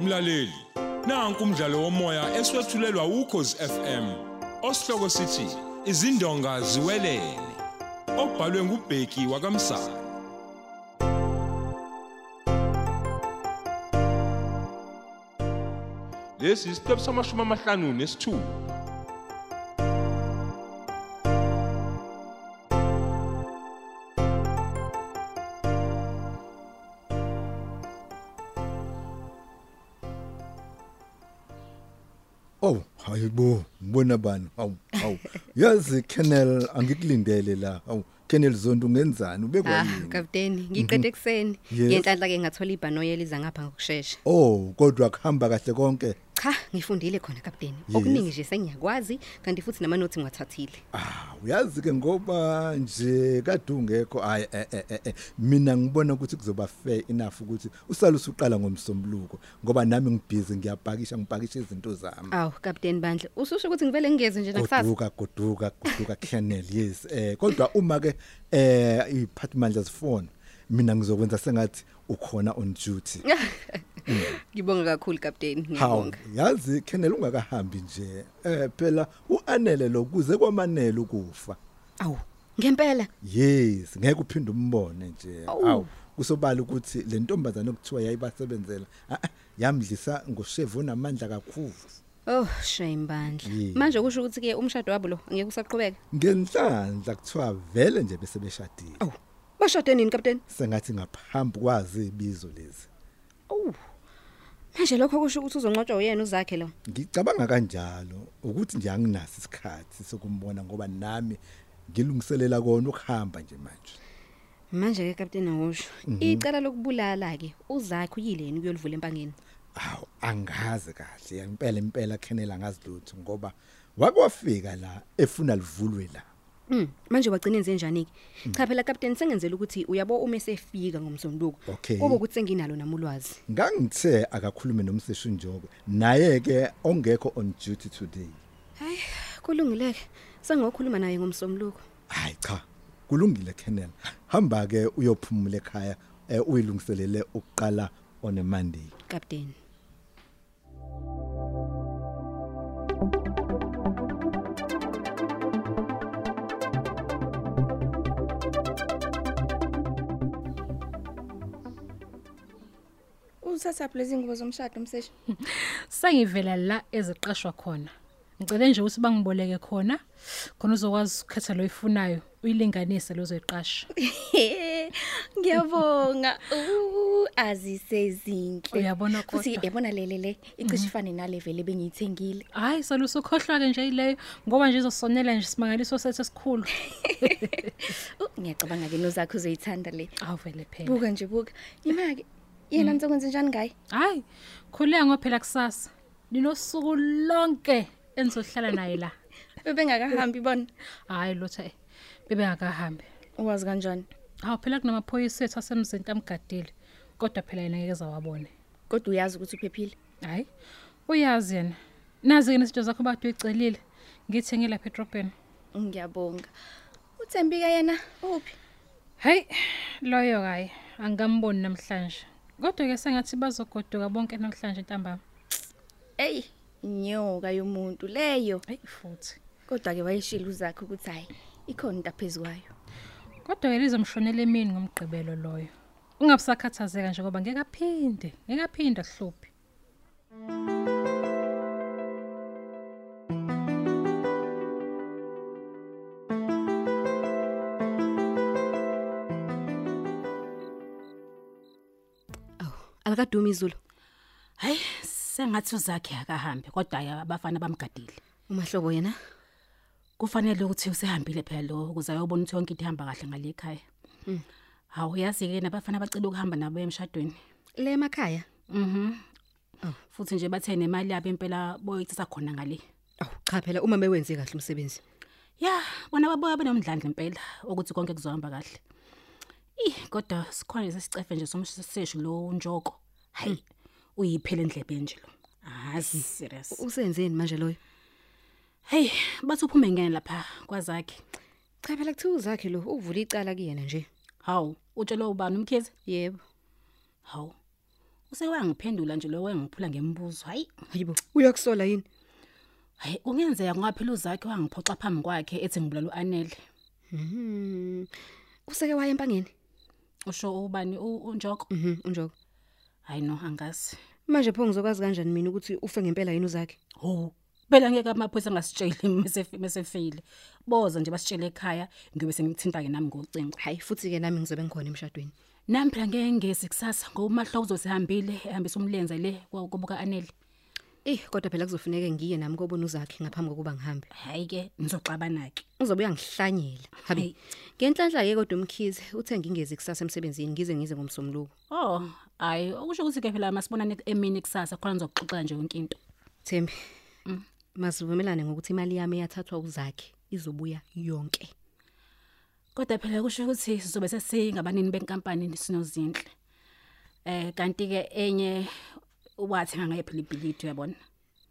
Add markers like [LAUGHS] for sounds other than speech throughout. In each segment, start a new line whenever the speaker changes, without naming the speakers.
mlaleli nanku umdlalo womoya eswetshulelwa ukhozi FM osihloko sithi izindonga ziwelele obhalwe ngubheki wakamsa lesi isiqephu samashumi amahlanu nesithupha
Oh, hayibo, ngibona bani? Hawu, hawu. Yazi Kennel angikulindele la. Hawu, Kennel Zondo ungenzani?
Ah,
Ubekwayini?
kapteni, ngiqede ekseni.
Mhm. Yes.
Ngenhlanhla ke ngathola ibhanoyi eliza ngapha ngokusheshsha.
Oh, kodwa kuhamba kahle konke.
Cha, ngifundile khona kapteni.
Yes.
Okuningi nje sengiyakwazi, kanti futhi nama notes ngiwathathile.
Ah, uyazi ke ngoba nje kadungekho ay eh, eh, eh, eh. mina ngibona ukuthi kuzoba fair enough ukuthi usale usuqala ngomsombuluko ngoba nami ngibhizi ngiyapakisha ngipakisha izinto zami.
Aw, kapteni Bandla, ususho ukuthi ngivele ngingeze nje [LAUGHS] nakusasa.
goduka goduka goduka Kennel yes eh kodwa uma ke eh iphathimandla zifone mina ngizokwenza sengathi ukhona on duty Mm.
Ngibonga kakhulu kapteni,
Mm,
Hawu,
ngiyabonga.
yazi Kennel ungakahambi nje. Eh phela uanele lo kuze kwamanele ukufa.
Aw, ngempela.
Yes, ngeke uphinde umbone nje.
Awu.
Awu, kusobala ukuthi le ntombazana okuthiwa yayibasebenzela, ah, ah, yamdlisa ngoshevu namandla kakhulu.
Oh, shame Bandla.
Yes.
Manje kusho ukuthi ke umshado wabo lo angeke usaqhubeka.
Ngenhlanhla kuthiwa vele nje bese
Oh.
beshadile.
Aw, bashade nini kapteni?
Sengathi ngaphambi kwazi ibizo lezi.
Aw. Manje lokho kusho ukuthi uzonqotshwa uyena uzakhe lo.
Ngicabanga kanjalo ukuthi nje anginaso isikhathi sokumbona ngoba nami ngilungiselela kona ukuhamba nje manje.
Manje ke kapteni awusho. Icala lokubulala ke uzakhe uyileni kuyolivula empangeni.
Aw angazi kahle ngempela impela Kennel angazi lutho ngoba wakwafika la efuna livulwe la.
Mm, manje wagcina enze njani ke? Cha phela captain sengenzela ukuthi uyabo uma esefika ngomsonduko.
Okay.
Kube ukuthi senginalo namulwazi.
Ngangithe akakhulume nomseshi Njobe naye ke ongekho on duty today.
Hayi, kulungileke. Sengokhuluma naye ngomsomluko.
Hayi cha kulungile Kennel. Hamba ke uyophumula ekhaya eh, uyilungiselele ukuqala on a Monday.
Captain.
Uzathatha lezi ngubo zomshado umseshi.
Sengivela la eziqashwa khona. Ngicela nje ukuthi bangiboleke khona khona uzokwazi ukukhetha lo ifunayo uyilinganise lozoyiqasha.
Ngiyabonga. Uh, azisezinhle.
Uyabona
Futhi
kodwa. Mhm.
yabona lele le icishifane nalevele bengiyithengile.
Hayi selusukhohlwa ke nje ileyo ngoba nje izosonela nje simangaliso sethu esikhulu.
Uh, Ngiyacabanga ke nozakho uzoyithanda le.
Awuvele phela.
Buka nje buka. Imake
Mm.
yena nizokwenza njani ngaye?
Hayi khuleka ngophela kusasa. Linosuku lonke enizohlala naye la.
Bebengakahambi bona.
Hayi lotha eh bebengakahambi.
Uwazi kanjani?
Hawu phela kunamaphoyisa ethu asemzinto amgadile. Kodwa phela yena ngeke zawabone.
Kodwa uyazi ukuthi uphephile.
hayi uyazi yena nazi ke nezinto zakho bathi uyicelile ngithenge lapha edrobheni
Ngiyabonga. Uthembika yena uphi?
hayi loyo kayi angikamboni namhlanje kodwa ke sengathi bazogoduka bonke namhlanje ntambama
Ey, inyoka yomuntu leyo.
hayi futhi
Kodwa ke wayeshila uzakho ukuthi hayi ikhona into aphezukwayo.
kodwa ke lizomshonela emini ngomgqibelo loyo ungabusakhathazeka nje ngoba ngeke aphinde ngeke aphinde ahluphe
Aw, alakadumi izulu.
hayi sengathi uzakhe akahambe kodwa hhayi, abafana bamgadile
Umahlobo yena.
kufanele ukuthi usehambile phela lo ukuze ayobona ukuthi yonke into ihamba kahle ngale ekhaya hawu yazi-ke nabafana bacela ukuhamba nabo emshadweni
Le emakhaya.
mhm futhi nje bathe nemali yabo impela boyithatha khona ngale
Aw, cha phela uma bewenze kahle umsebenzi.
ya bona baboya benomdlandla impela ukuthi konke kuzohamba kahle ih kodwa sikhona nje sesicefe nje somseshu lo njoko hayi uyiphela endlebeni nje lo ah serious
Usenzeni manje loyo?
hey bathi uphume ngene lapha kwazakhe
Cha phela kuthi uzakhe lo uvula icala kuyena nje.
hawu utshela ubani umkhize
Yebo.
hawu usewangiphendula nje lo wengiphula ngembuzo hayi
hayibo uyakusola yini
hayi kungenzeka kungaphela uzakhe wangiphoxa phambi kwakhe ethi ngibulala uanele
Mhm. useke waya empangeni
usho ubani u- unjoko
mhm unjoko
hayi no angazi
manje pho ngizokwazi kanjani mina ukuthi ufe ngempela yini uzakhe
ho phela ngeke amaphoyisa angasitsheli [LAUGHS] mase mesefile boza nje basitshele ekhaya ngiyobe sengithinta ke nami ngocingo
hayi futhi ke nami ngizobe ngikhona emshadweni
nami phela ngeke ngezi kusasa ngoba umahlo uzosihambile ehambisa umlenze le kwa- kubuka anele
eyi Eh, kodwa phela kuzofuneka ngiye nami kobona uzakhe ngaphambi kokuba ngihambe
hayi ke ngizoxabana ke
uzobe uyangihlanyela
Hayi.
habi ngenhlanhla-ke kodwa umkhize uthe ngingezi kusasa emsebenzini ngize ngize ngomsomluko
oh hayi okusho ukuthi ke phela masibonane emini kusasa khona ngizokuxoxela nje yonke into
thembi masivumelane ngokuthi imali yami eyathathwa uzakhe izobuya yonke
kodwa phela kusho ukuthi sizobe sesingabanini benkampani sinozinhle eh kanti ke enye wathenga ngayo phela ibhilidi uyabona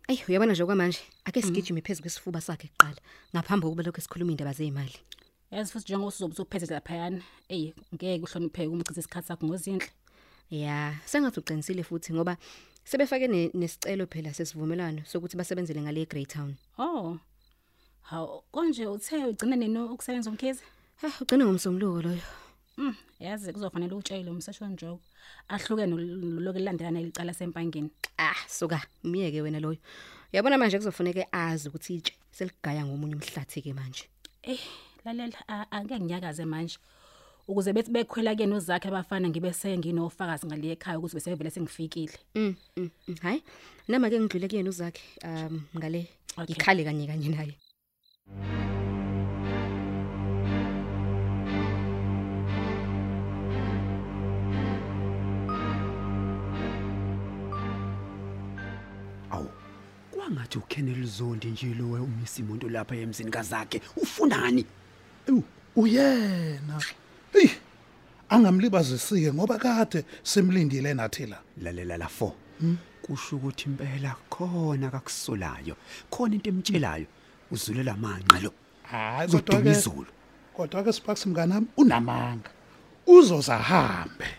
eyi uyabona nje okwamanje ake sigijime phezu kwesifuba sakhe kuqala ngaphambi kokuba lokhu sikhuluma iy'ndaba zey'mali
yazi futhi njengoba usuzobe usuphethe laphayana eyi ngeke uhlonipheke uma uchitha isikhathi sakho ngozinhle
ya sengathi uqinisile futhi ngoba sebefake ne- nesicelo phela sesivumelwano sokuthi basebenzele ngale grey town
oh hawu konje uthe ugcine nini ukusebenza umkhizi
ha ugcine ngomsombuluko loyo
um yazi kuzofanele utshele umsesho njoko ahluke noloku elandelana elicala sempangeni
ah suka umyeke wena loyo uyabona manje kuzofuneke azi ukuthi itshe seligaya ngomunye umhlathi-ke manje
eyi Eh, lalela a- angeke nginyakaze manje ukuze bethi bekhwela kuyena uzakhe abafana ngibe senginofakazi ngale ekhaya ukuthi besevele sengifikile
mm, mm, mm. hhayi nama-ke ngidlule kuyena uzakhe um ngale
Okay.
ngikhale kanye kanye naye
awu kwangathi ukhenela uzondi nje lowe umisa imuntu lapha emzini kazakhe ufundani
Ewu, uyena hey angamlibazisike ngoba kade simlindile nathi la
lalela la 4 kusho ukuthi impela khona kakusolayo khona into emtshelayo uzulela manqa lo
hayi
Uzoduma izulu.
kodwa ke siphakisi mnganami unamanga uzozahambe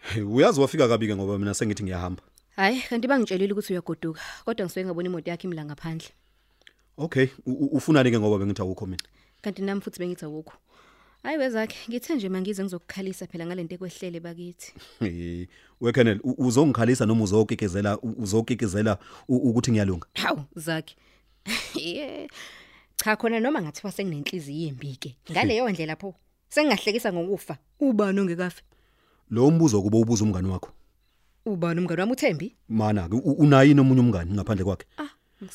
Hey, uyazi wafika kabi ke ngoba mina sengithi ngiyahamba
hhayi kanti bangitshelile ukuthi uyagoduka kodwa ngisuke ngabona imoto yakhe imla ngaphandle
okay u- u- ufunani ke ngoba bengithi awukho mina
kanti nami futhi bengithi awukho hhayi wezakhe ngithe nje mangize ngizokukhalisa phela ngale nto ekwehlele bakithi
Hey, wekennel u- uzongikhalisa noma uzokikizela u- uzokikizela u- ukuthi ngiyalunga
hawu zakhe [LAUGHS] Ye. cha khona noma ngathiwa senginenhliziyo yembi-ke ngaleyo ndlela pho sengingahlekisa ngokufa Mhm. ubani ongekafe
lo mbuzo kuba ubuza umngani wakho
ubani umngane wami uthembi
mana unayi nomunye umngani ngaphandle kwakhe
Ah,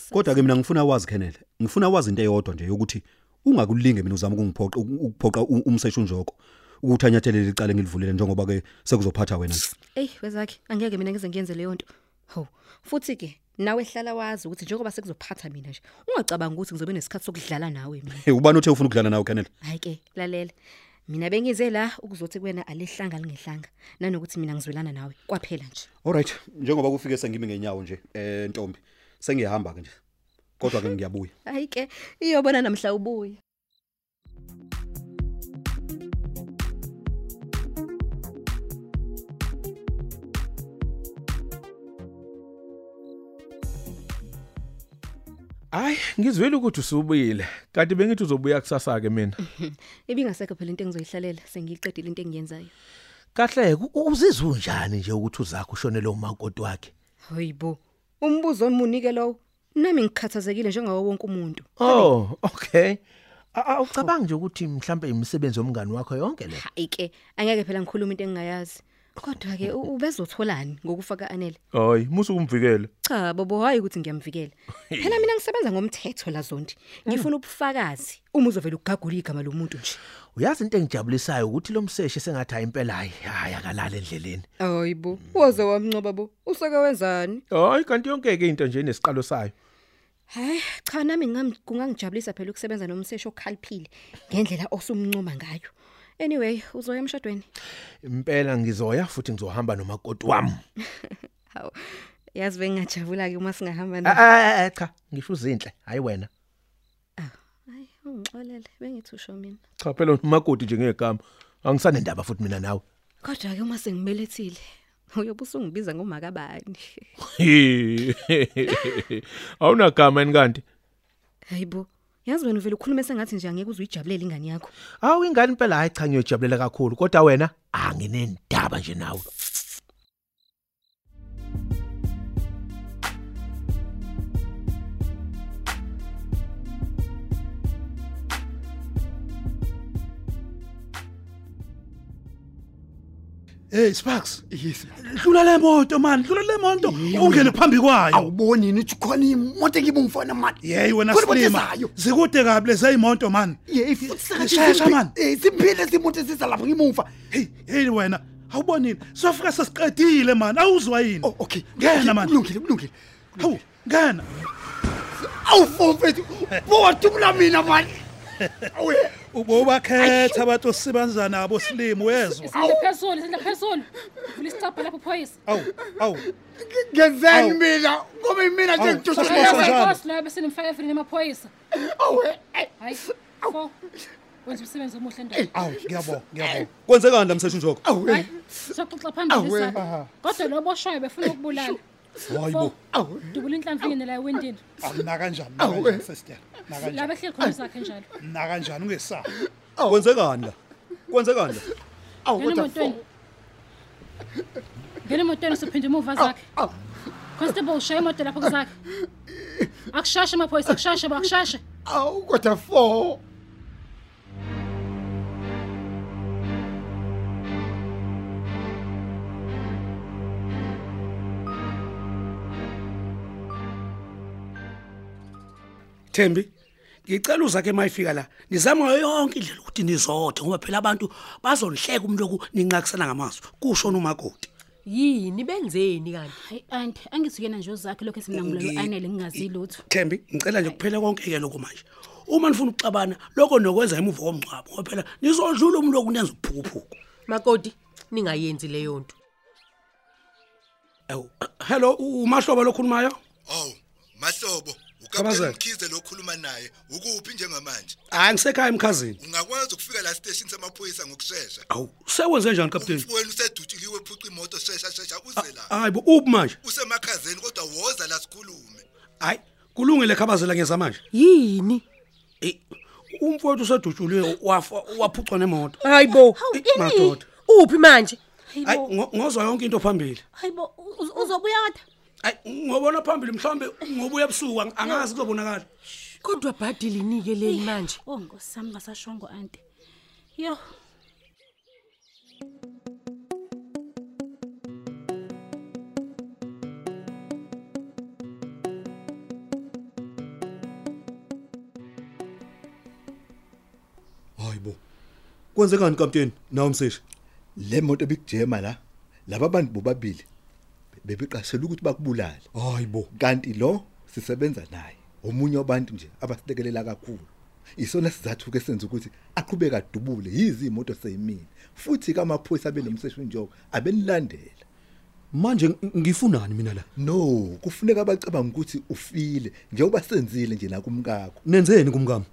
kodwa ke mina ngifuna wazi kennel ngifuna wazi into eyodwa nje yokuthi ungakulinge mina uzama ukungiphoqa uku- ukuphoqa u- umseshu njoko ukuthi anyathelele icala ngilivulile njengoba ke sekuzophatha wena nje
eyi wezakhe angeke mina ngize ngiyenze leyo nto ho futhi-ke nawe hlala wazi ukuthi njengoba sekuzophatha mina nje ungacabanga ukuthi ngizobe nesikhathi sokudlala nawe mina
hey ubani othe ufuna ukudlala nawe kennel
hhayi-ke lalela mina bengize la ukuzothi kuwena alihlanga lingehlanga nanokuthi mina ngizwelana nawe kwaphela nje
alright njengoba kufike sengimi ngenyawo nje eh ntombi sengiyahamba ke nje kodwa ke ngiyabuya
hhayi-ke iyobona namhla ubuya
hayi ngizwile ukuthi usubuyile kanti bengithi uzobuya kusasa-ke mina
ibingasekho phela into engizoyihlalela sengiyiqedile into engiyenzayo
kahleke uzizwe unjani nje ukuthi uzakho ushonele umakoti wakhe
hayi bo umbuzo omunike lowo nami ngikhathazekile njengawo wonke umuntu
oh okay A- a- awucabangi nje ukuthi mhlambe imisebenzi yomngani wakho yonke le
hhayi-ke angeke phela ngikhuluma into engingayazi kodwa-ke u- ubezotholani ngokufa ka-anele
hayi musukumvikela
cha bobo hhayi ukuthi ngiyamvikela phela mina ngisebenza ngomthetho lazondi ngifuna ubufakazi uma uzovele ukugagula igama lomuntu nje
uyazi into engijabulisayo ukuthi lo mseshi sengathi ayimpela hayi hayi akalali endleleni
hayi bo woze wamncoba bo useke wenzani
hayi kanti yonke-ke into nje inesiqalo sayo
hayi cha nami ngingam- kungangijabulisa phela ukusebenza nomseshi okhaliphile ngendlela osumncoma ngayo anyway uzoya emshadweni
impela ngizoya futhi ngizohamba nomakoti wami
hawu yazi bengajabula ke uma singahamba
Ah, ah, ah, cha ngisho izinhle hayi wena
hayi ungixolele bengithi usho mina
cha phela umakoti nje ngegama angisane ndaba futhi mina nawe
kodwa ke uma sengibelethile uyobe usungibiza ngomakabani
awunagama yini kanti
hayibo yazi wena uvela ukhuluma sengathi nje angeke uzuyijabulela ingane yakho
awu ingane impela hayi cha ngiyojabulela kakhulu kodwa wena anginendaba nje nawe
Hey Sparks. Yes. Dlula le moto man, dlula le moto. Ungene phambi kwayo. Awuboni yini ukuthi khona imoto engibungifona man. Hey wena
Khona imoto
Slima.
ezayo.
Zikude kabi lezi imoto man.
Hey futhi
Shesha man.
Eh siphile simoto siza lapha ngimuva.
Hey, hey wena. Awubonini? Sofika sesiqedile man. Awuzwa yini? Oh, okay. Ngena man. Kulungile, kulungile. Hawu, ngena.
Awufo mfethu. Bowathula mina man.
Awu, ubobakhetha abantu osibanza nabo Slima wezwa.
Isindla phezulu, isindla phezulu. Vula isicabha lapho phoyisa.
Awu, awu.
Ngenzeni mina? Ngoba mina nje ngiduduleka.
Sasibona bese nimfaka evini emaphoyisa.
Awu.
Hayi. Fo. Wenza umsebenzi omuhle endawo.
Awu, ngiyabonga, ngiyabonga.
Kwenzekani lamseshi njoko?
Hayi. Soxoxa phambili
Awu,
sana. Kodwa lo boshwayo befuna ukubulala.
Hayibo.
Awu. Dubula inhlamvu ingene la ewindini.
Awuna kanjani? Na kanjani
eh.
sesitya? Na kanjani?
Laba ehleli khona sakhe njalo.
Na kanjani ungesaba?
Kwenzekani la? Kwenzekani la?
Ngena emotweni. Ngena emotweni usuphinde umuva zakhe. Constable ushaya imoto lapho kuzakhe. Akushashe amaphoyisa, akushashe, bakushashe.
Awu kodwa fo.
Thembi ngicela uzake mayifika la nizama yonke indlela ukuthi nizothe ngoba phela abantu bazonihleka umuntu oku ninqakisana ngamazwi kusho umakoti
yini benzeni kanti
hayi anti angisukena nje uzakhe lokho esimnangulelo
Ngi-
anele ngingazi
eh,
lutho
Thembi ngicela nje kuphela konke ke lokho manje uma nifuna ukuxabana lokho nokwenza emuva komncwabo ngoba phela nizodlula umuntu oku nenza uphukuphuku
makoti ningayenzi leyo nto
ewu hello umahlobo lokhulumayo
Aw, mahlobo,
Khabazela.
ukapteni Mkhize lo khuluma naye, ukuphi njengamanje?
hayi ngisekhaya emkhazini
Ungakwazi ukufika la station samaphoyisa ngokusheshsha.
awu sewenze njani kapteni
Wena usedutshiliwe phuca imoto sheshsha sheshsha uze la.
hayi bo uphi manje
Usemakhazeni kodwa woza la sikhulume.
hayi kulungile khabazela ngeza manje
yini
umfowethu usedutshuliwe wafa waphucwa nemoto
hayibo
Eh, madoda
uphi manje
hayi ngo- ngozwa yonke into phambili
hayibo uzobuya kodwa
hayi ngobona phambili mhlawumbe ngobuya ebusuku ang- angazi kuzobonakala
kodwa bhadile nike leli manje
oh ngosami ngasashongo anti yo
Hayibo. Kwenzekani kapteni? Nawe umseshi.
le moto ebikujema la laba bantu bobabili bebeqashelwe ukuthi bakubulale
hayibo
kanti lo sisebenza naye omunye wabantu nje abasilekelela kakhulu isona sizathu ke senza ukuthi aqhubeka adubule yizi imoto seyimini futhi kamaphoyisa abenomseshi njoko abenilandela
manje ngifunani mina la
no kufuneka abacabanga ukuthi ufile njengoba senzile nje nakumkakho
nenzeni kumkami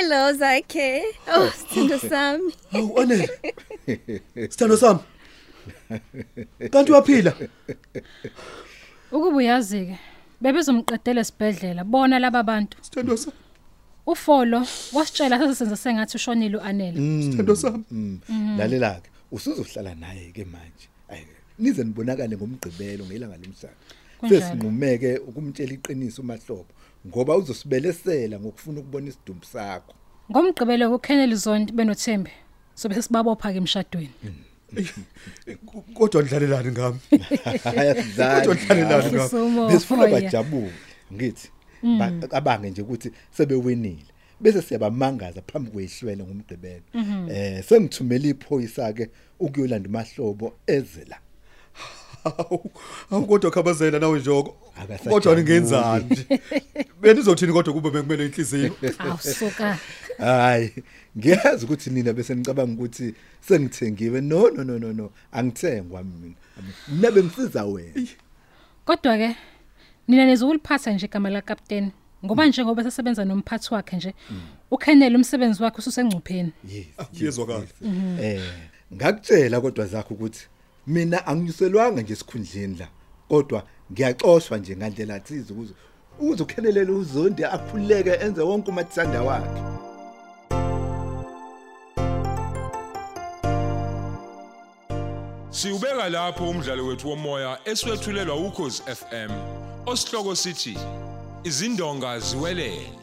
Hello Zakhe. Oh, sithandwa sami.
Hawu Anele. Sithando sami. Kanti uyaphila?
Ukuba uyazi ke bebezomqedela esibhedlela bona laba bantu.
Sithandwa sami.
Ufolo wasitshela sasenze sengathi ushonile uanele.
Sithando sami.
Mhm.
Lalela ke usuzohlala naye ke manje. Ayi nize nibonakale ngomgqibelo ngelanga lomshado.
Kunjalo.
Sesinqumeke ukumtshela iqiniso umahlobo ngoba uzosibelesela ngokufuna ukubona isidumbu
[LAUGHS]
sakho.
Ngomgqibelo uKenneth Zondi benothembe. Sobe sesibabopha ke emshadweni.
Kodwa nidlalelani ngami?
Ayasizana.
Kodwa nidlalelani
Sisomo.
ngami?
Besifuna
Oya.
bajabule ngithi
Mm.
bacabange nje ukuthi sebewinile. Bese siyabamangaza phambi kwehlwele ngomgqibelo.
Mhm.
Eh sengithumela iphoyisa ke ukuyolanda umahlobo ezela.
Hawu kodwa khabazela nawe njoko.
Akasajabuli.
Kodwa ningenzani nje? Benizothini kodwa kube bekumele inhliziyo?
Awusuka.
hayi ngiyazi ukuthi nina bese nicabanga ukuthi sengithengiwe no no no no no angithengwa mina mina bengisiza wena
Kodwa ke nina nezokuliphatha nje igama la captain ngoba njengoba sesebenza nomphathi wakhe nje uKenneth umsebenzi wakhe ususengcupheni.
yezwakala
Mhm.
eh ngakutshela kodwa zakho ukuthi mina anginyuselwanga nje esikhundleni la kodwa ngiyaxoshwa nje ngandlela thize ukuze uze ukhenelela uzondi akhuleke enze wonke umathanda wakhe
Siubeka lapho umdlalo wethu womoya eswetshulelwa ukhozi FM. Osihloko sithi izindonga ziwelele.